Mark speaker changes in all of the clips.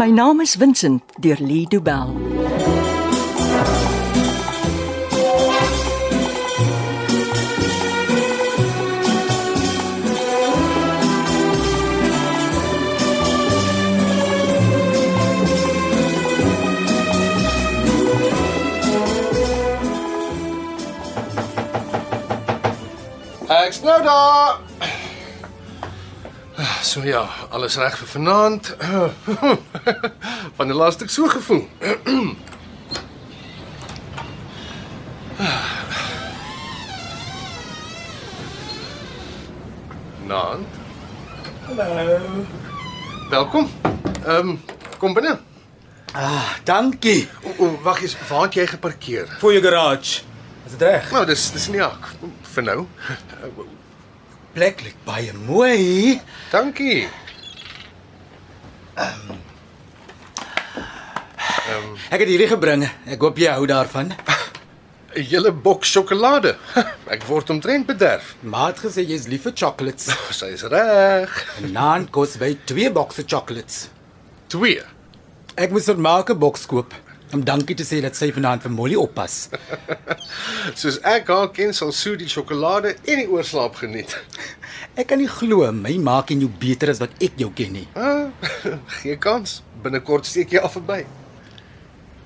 Speaker 1: My naam is Vincent deur Lee Du Bell.
Speaker 2: Ek's nou daar. So ja, alles reg vir vanaand. Van die laaste ek so gevoel. Naand. Hallo. Welkom. Ehm um, kom binne.
Speaker 3: Ah, Dankie
Speaker 2: O, o wag eens, waar het jy geparkeer?
Speaker 3: vir jou garage. Is dit reg?
Speaker 2: Nou, dis dis nie hak vir nou.
Speaker 3: Plek lyk baie mooi.
Speaker 2: Dankie.
Speaker 3: Ek het hierdie gebring. Ek hoop jy hou daarvan.
Speaker 2: 'n Hele boks sjokolade. Ek word omtrent bederf.
Speaker 3: Maat gesê jy's lief vir chocolates.
Speaker 2: Sy is reg.
Speaker 3: Vanaand kos by 2 bokse chocolates.
Speaker 2: 2.
Speaker 3: Ek moet vermaak 'n boks koop om dankie te sê dat sy vanaand vir Molly oppas.
Speaker 2: Soos ek haar ken, sal Sue die sjokolade en die oorslaap geniet.
Speaker 3: Ek kan nie glo my ma ken jou beter as wat ek jou ken nie.
Speaker 2: Ah, gee kans. Binnekort steek jy af verby.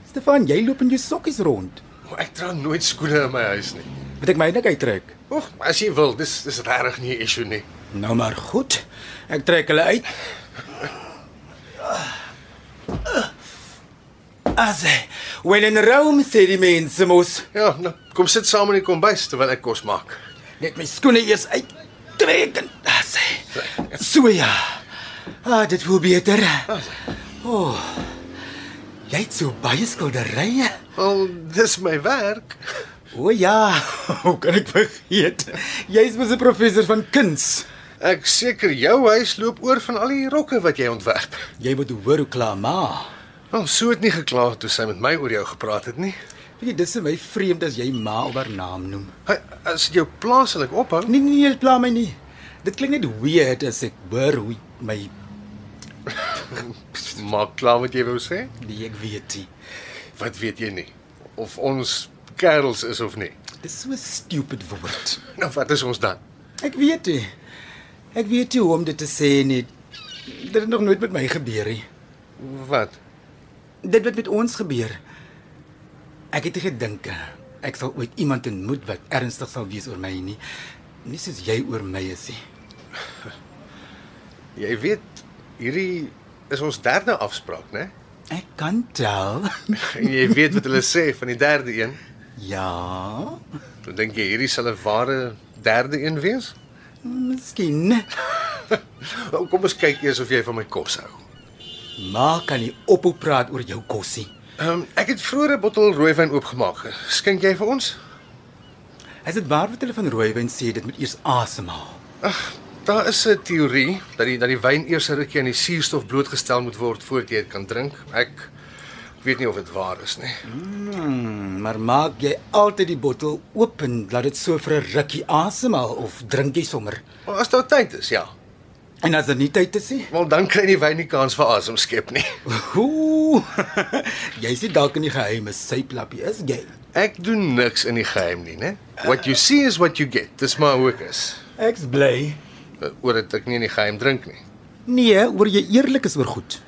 Speaker 3: Stefan, jy loop in jou sokkies rond.
Speaker 2: O, Ek dra nooit skoene in my huis nie.
Speaker 3: Moet ek my net uittrek?
Speaker 2: Oeg, as jy wil, dis dis regtig nie 'n issue nie.
Speaker 3: Nou maar goed. Ek trek hulle uit. As when in Rome sê die mense mos
Speaker 2: Ja, nou, kom sit saam in die kombuis terwyl ek kos maak.
Speaker 3: net my skoene eers uit trek en as so ja. Ah, dit voel beter. O. Oh, jy het so baie skilderye.
Speaker 2: Wel, dis my werk.
Speaker 3: O ja, hoe kan ek vergeet? Jy's mos 'n professor van kuns.
Speaker 2: Ek seker jou huis loop oor van al die rokke wat jy ontwerp.
Speaker 3: Jy moet hoor hoe klaar maar.
Speaker 2: Wel, Sue het nie gekla toe sy met my oor jou gepraat het nie.
Speaker 3: Weet jy, dis vir my vreemd as jy ma op haar naam noem.
Speaker 2: Hy as jou plaaslik ophou.
Speaker 3: Nee nee, nee, dit pla my nie. Dit klink net weird as ek hoor hoe my
Speaker 2: Maak klaar wat jy wou sê.
Speaker 3: die ek weet nie.
Speaker 2: Wat weet jy nie? Of ons kerels is of nie.
Speaker 3: Dis so 'n stupid woord.
Speaker 2: Nou wat is ons dan?
Speaker 3: Ek weet nie. Ek weet nie hoe om dit te sê nie. Dit het nog nooit met my gebeur nie.
Speaker 2: Wat?
Speaker 3: Dit wat met ons gebeur. Ek het nie gedink eh, ek sal ooit iemand ontmoet wat ernstig sal wees oor my nie. Nie soos jy oor my is nie.
Speaker 2: Jy weet, hierdie is ons derde afspraak, né?
Speaker 3: Ek kan tel.
Speaker 2: En jy weet wat hulle sê van die derde een.
Speaker 3: ja,
Speaker 2: Dan dink jy hierdie sal 'n ware derde een wees?
Speaker 3: miskien.
Speaker 2: Wel, Kom ons kyk eers of jy van my kos hou.
Speaker 3: Maar kan nie ophou praat oor jou kosie.
Speaker 2: Ehm um, ek het vroeër 'n bottel rooiwyn oopgemaak. Skink jy vir ons?
Speaker 3: Is dit waar wat hulle van rooiwyn sê dit moet eers asemhaal?
Speaker 2: Ag, daar is 'n teorie dat die dat die wyn eers 'n rukkie aan die suurstof blootgestel moet word voordat jy dit kan drink. Ek weet nie of dit waar is nie.
Speaker 3: Hmm, maar maak jy altyd die bottel oop en laat dit so vir 'n rukkie asemhaal of drink jy sommer?
Speaker 2: Maar as daar tyd is, ja.
Speaker 3: En as dit nie tyd is nie,
Speaker 2: Wel dan kry die wyn nie kans vir asem skep nie.
Speaker 3: ooh, jy sien dalk in die geheime syplappie is jy.
Speaker 2: Ek doen niks in die geheim nie, né? What you see is what you get. Dis maar hoe ek is. Eh,
Speaker 3: Ek's bly.
Speaker 2: Oor dit ek nie in die geheim drink nie.
Speaker 3: Nee, oor jy eerlik is oor goed.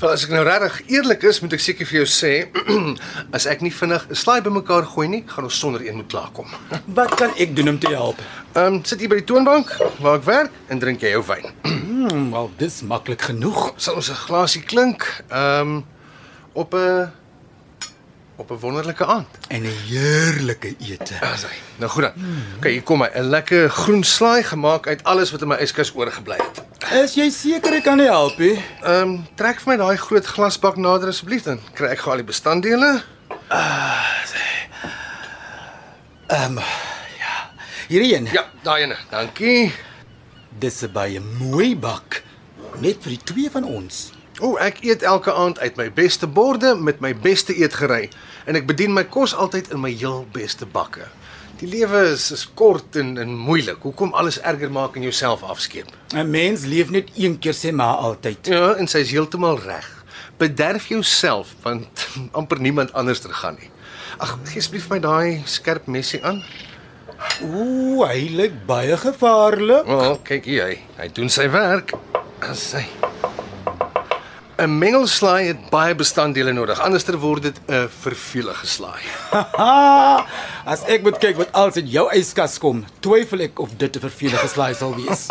Speaker 2: Wel as ek nou regtig eerlik is, moet ek seker vir jou sê, as ek nie vinnig 'n slaai bymekaar gooi nie, gaan ons sonder een moet klaarkom.
Speaker 3: Wat kan ek doen om te help?
Speaker 2: Ehm um, sit hier by die toonbank waar ek werk en drink jy jou wyn.
Speaker 3: Hmm, wel dis maklik genoeg.
Speaker 2: Sal ons 'n glasie klink, ehm um, op 'n op 'n wonderlike aand.
Speaker 3: En 'n heerlike ete.
Speaker 2: Asai. Nou goed dan. Okay, hier kom hy, 'n lekker groen slaai gemaak uit alles wat in my yskas oorgebly het.
Speaker 3: Is jy seker ek kan nie help nie?
Speaker 2: Ehm um, trek vir my daai groot glasbak nader asseblief dan kry ek gou al die bestanddele.
Speaker 3: Ehm um, ja. Hierdie een.
Speaker 2: Ja, daai ene. Dankie.
Speaker 3: Dis 'n baie mooi bak, net vir die twee van ons.
Speaker 2: O, ek eet elke aand uit my beste borde met my beste eetgerei en ek bedien my kos altyd in my heel beste bakke. Die lewe is, is kort en en moeilik. Hoekom alles erger maak en jouself afskeep?
Speaker 3: 'n Mens leef net een keer sê maar altyd.
Speaker 2: Ja, en sy is heeltemal reg. Bederf jouself want amper niemand anders tergaan nie. Ag, gee asseblief my daai skerp messie aan.
Speaker 3: Ooh, hy lyk baie gevaarlik.
Speaker 2: O, oh, kyk hier hy. Hy doen sy werk. As Sy 'n mengelslaai het baie bestanddele nodig, anderster word dit 'n vervelige slaai.
Speaker 3: Haha, As ek moet kyk wat als in jou yskas kom, twyfel ek of dit 'n vervelige slaai sal wees.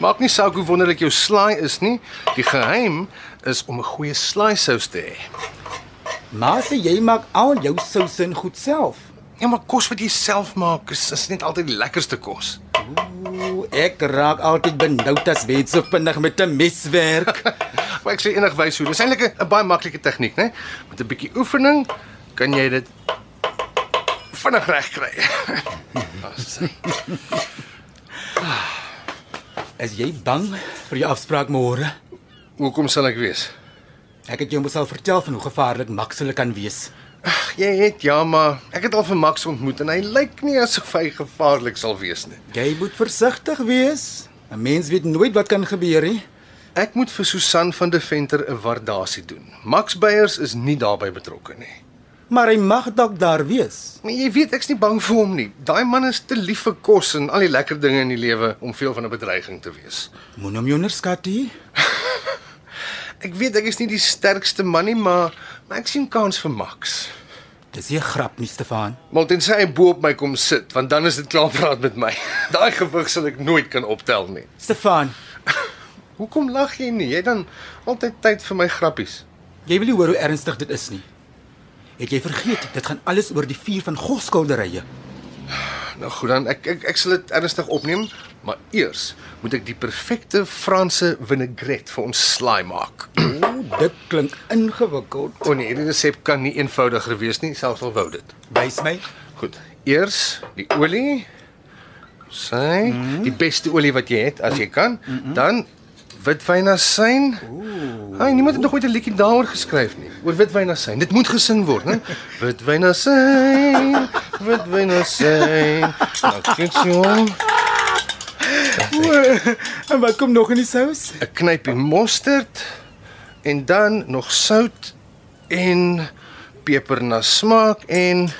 Speaker 2: Maak nie saak hoe wonderlik jou slaai is nie, die geheim is om 'n goeie slaaisous te hê.
Speaker 3: Maar sê jy maak al jou sous in goed self.
Speaker 2: Ja, maar kos wat jy self maak is, is net altyd die lekkerste kos.
Speaker 3: Ooh, ek raak altyd benoud as mense vinnig met 'n mes werk.
Speaker 2: Maar ek sê enig wys hoe. Dis eintlik 'n- 'n baie maklike tegniek, né? Met 'n bietjie oefening kan jy dit vinnig regkry.
Speaker 3: Is jy bang vir jou afspraak môre?
Speaker 2: Hoekom sal ek weet?
Speaker 3: Ek het jou mos al vertel van hoe gevaarlik Max hulle kan wees.
Speaker 2: Jy het ja, maar ek het al vir Max ontmoet en hy lyk nie asof hy gevaarlik sal wees nie.
Speaker 3: Jy moet versigtig wees. 'n Mens weet nooit wat kan gebeur nie.
Speaker 2: Ek moet vir Susan van der Venter 'n waardasie doen. Max Beyers is nie daarbey betrokke nie.
Speaker 3: Maar hy mag dalk daar wees.
Speaker 2: Maar jy weet ek's nie bang vir hom nie. Daai man is te lief vir kos en al die lekker dinge in die lewe om veel van 'n bedreiging te wees.
Speaker 3: Moenie hom jou onderskat nie.
Speaker 2: Ek weet ek is nie die sterkste man nie, maar, maar ek sien kans vir Max.
Speaker 3: Dis nie 'n grap nie, Stefan.
Speaker 2: Maar tensy hy bo op my kom sit, want dan is dit klaar praat met my. Daai gewig sal ek nooit kan optel nie.
Speaker 3: Stefan,
Speaker 2: Hoekom lag jy nie? Jy het dan altyd tyd vir my grappies.
Speaker 3: jy wil nie hoor hoe ernstig dit is nie. Het jy vergeet, dit gaan alles oor die vuur van God skilderye.
Speaker 2: Nou goed dan, ek ek, ek sal dit ernstig opneem, maar eers moet ek die perfekte Franse vinaigrette vir ons slaai maak.
Speaker 3: Ooh, dit klink ingewikkeld.
Speaker 2: O nee, hierdie resep kan nie eenvoudiger wees nie, selfs al wou dit.
Speaker 3: Wys my.
Speaker 2: Goed. Eers die olie. Sy, mm -hmm. die beste olie wat jy het as jy kan. Mm -hmm. Dan witwynasyn. Ooh. Ai, niemand het nog ooit 'n liedjie daaroor geskryf nie. Oor witwynasyn. Dit moet gesing word, né? witwynasyn. Witwynasyn. Nou kyk jy.
Speaker 3: En wat kom nog in die sous?
Speaker 2: 'n Knypie mosterd en dan nog sout en peper na smaak en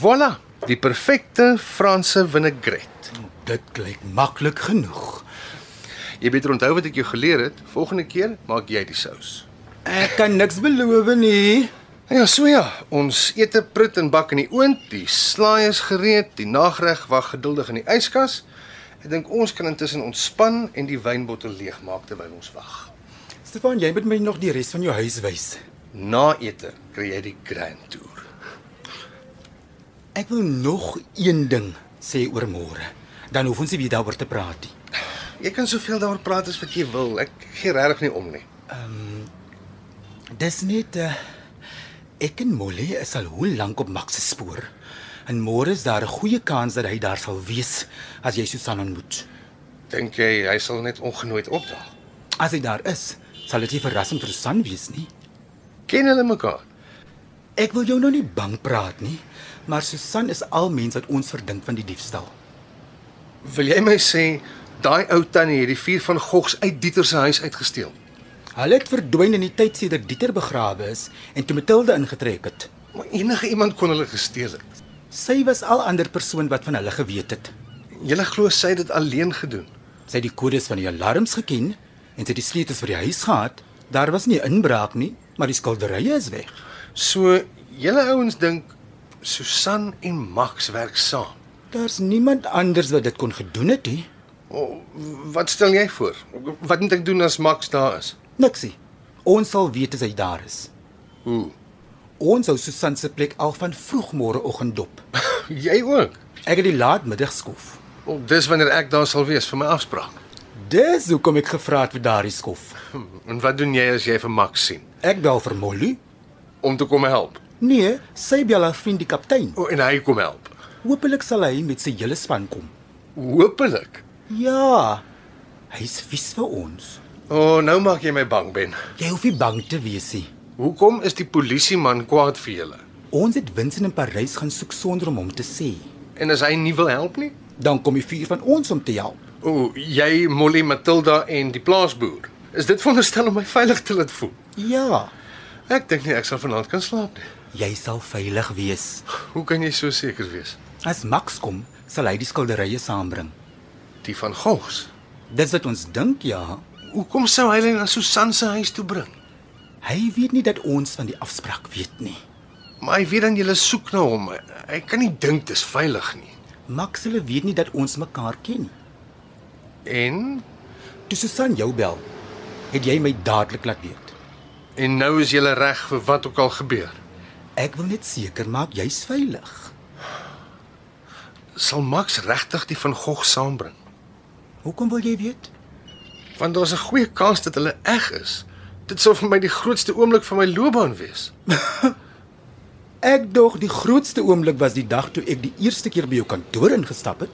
Speaker 2: voilà, die perfekte Franse vinaigrette.
Speaker 3: Dit klink maklik genoeg.
Speaker 2: Jy beter onthou wat ek jou geleer het. Volgende keer maak jy die sous.
Speaker 3: Ek kan niks beloof nie.
Speaker 2: Ja, so ja, ons ete prut en bak in die oond, die slaai is gereed, die nagereg wag geduldig in die yskas. Ek dink ons kan intussen ontspan en die wynbottel leegmaak terwyl ons wag.
Speaker 3: Stefan, jy moet my nog die res van jou huis wys.
Speaker 2: Na ete kry jy die grand tour.
Speaker 3: Ek wil nog een ding sê oor môre. Dan hoef ons nie weer daaroor te praat nie.
Speaker 2: Jy kan soveel daaroor praat as wat jy wil. Ek gee regtig nie om nie.
Speaker 3: Dis net uh, ek en Molly is al hoe lank op Max se spoor. En môre is daar 'n goeie kans dat hy daar sal wees as jy Susan ontmoet.
Speaker 2: Dink jy hy sal net ongenooid opdaag?
Speaker 3: As hy daar is, sal dit nie verrassend vir Susan wees nie.
Speaker 2: Ken hulle mekaar?
Speaker 3: Ek wil jou nou nie bang praat nie, maar Susan is al mens wat ons verdink van die diefstal.
Speaker 2: Wil jy my sê daai ou tannie het die vuur van Gogs uit Dieter se huis uitgesteel?
Speaker 3: Hulle het verdwyn in die tyd sedert Dieter begrawe is en toe Matilda ingetrek het.
Speaker 2: Maar enige iemand kon hulle gesteel het.
Speaker 3: Sy was al ander persoon wat van hulle geweet het.
Speaker 2: Julle glo sy het dit alleen gedoen.
Speaker 3: Sy het die kodes van die alarms geken en sy het die sleutels vir die huis gehad. Daar was nie 'n inbraak nie, maar die skilderye is weg.
Speaker 2: So julle ouens dink Susan en Max werk saam.
Speaker 3: Daar's niemand anders wat dit kon gedoen het nie.
Speaker 2: O, wat stel jy voor? Wat moet ek doen as Max daar is?
Speaker 3: Niksie. Ons sal weet as hy daar is.
Speaker 2: Hoe?
Speaker 3: Ons hou Susan se plek al van vroegmôreoggend dop.
Speaker 2: Jy ook.
Speaker 3: Ek het die laatmiddagskof.
Speaker 2: O, dis wanneer ek daar sal wees vir my afspraak.
Speaker 3: Dis hoekom ek gevra het vir daardie skof.
Speaker 2: Hm, En wat doen jy as jy vir Max sien?
Speaker 3: Ek bel vir Molly.
Speaker 2: Om te kom help.
Speaker 3: Nee, sy bel haar vriend die kaptein.
Speaker 2: O, en hy kom help.
Speaker 3: Hoopelik sal hy met sy hele span kom.
Speaker 2: Hoopelik.
Speaker 3: Ja. Hy's vies vir ons.
Speaker 2: O, nou maak jy my bang, Ben.
Speaker 3: Jy hoef nie bang te wees nie.
Speaker 2: Hoekom is die polisieman kwaad vir julle?
Speaker 3: Ons het Vincent in Parys gaan soek sonder om hom te sê.
Speaker 2: En as hy nie wil help nie,
Speaker 3: Dan kom die vier van ons om te help.
Speaker 2: o, jy, Molly, Matilda en die plaasboer. Is dit veronderstel om my veilig te laat voel?
Speaker 3: Ja,
Speaker 2: Ek dink nie ek sal vanaand kan slaap nie.
Speaker 3: jy sal veilig wees.
Speaker 2: Hoe kan jy so seker wees?
Speaker 3: As Max kom, sal hy die skilderye saambring.
Speaker 2: Die van Gogs.
Speaker 3: Dis wat ons dink, ja.
Speaker 2: Hoekom sou hy hulle na Susan se huis toe bring?
Speaker 3: Hy weet nie dat ons van die afspraak weet nie.
Speaker 2: Maar hy weet dan julle soek na hom. Hy kan nie dink dis veilig nie.
Speaker 3: Max hulle weet nie dat ons mekaar ken nie.
Speaker 2: En
Speaker 3: Toe Susan jou bel, het jy my dadelik laat weet.
Speaker 2: en nou is julle reg vir wat ook al gebeur.
Speaker 3: Ek wil net seker maak jy's veilig.
Speaker 2: Sal Max regtig die van Gogh saambring?
Speaker 3: Hoekom wil jy weet?
Speaker 2: Want daar's 'n goeie kans dat hulle eg is. Dit sou vir my die grootste oomblik van my loopbaan wees.
Speaker 3: Ek dog die grootste oomblik was die dag toe ek die eerste keer by jou kantoor ingestap het.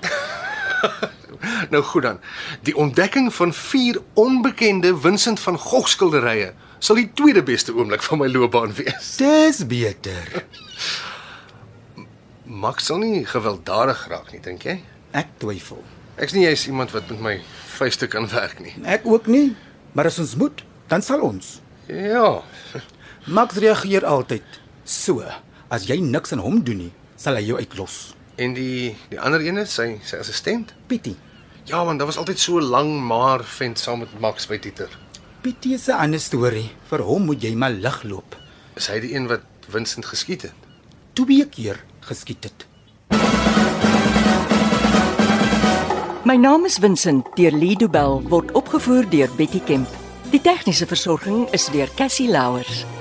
Speaker 2: Nou goed dan. Die ontdekking van vier onbekende Vincent van Gogh skilderye sal die tweede beste oomblik van my loopbaan wees.
Speaker 3: Dis beter.
Speaker 2: Max sal nie gewelddadig raak nie, dink jy?
Speaker 3: Ek twyfel.
Speaker 2: Ek's nie jy's iemand wat met my vuiste kan werk nie.
Speaker 3: Ek ook nie, maar as ons moet, dan sal ons.
Speaker 2: Ja.
Speaker 3: Max reageer altyd. So, as jy niks aan hom doen nie, sal hy jou uitlos.
Speaker 2: En die die ander een is sy sy assistent.
Speaker 3: Pietie.
Speaker 2: Ja man, daar was altyd so lang maar vent saam met Max by Dieter.
Speaker 3: Pietie is 'n ander storie. Vir hom moet jy maar lig loop.
Speaker 2: Is hy die een wat Vincent geskiet het?
Speaker 3: Twee keer geskiet het.
Speaker 1: My naam is Vincent deur Lido Bell word opgevoer deur Betty Kemp. Die tegniese versorging is deur Cassie Louers.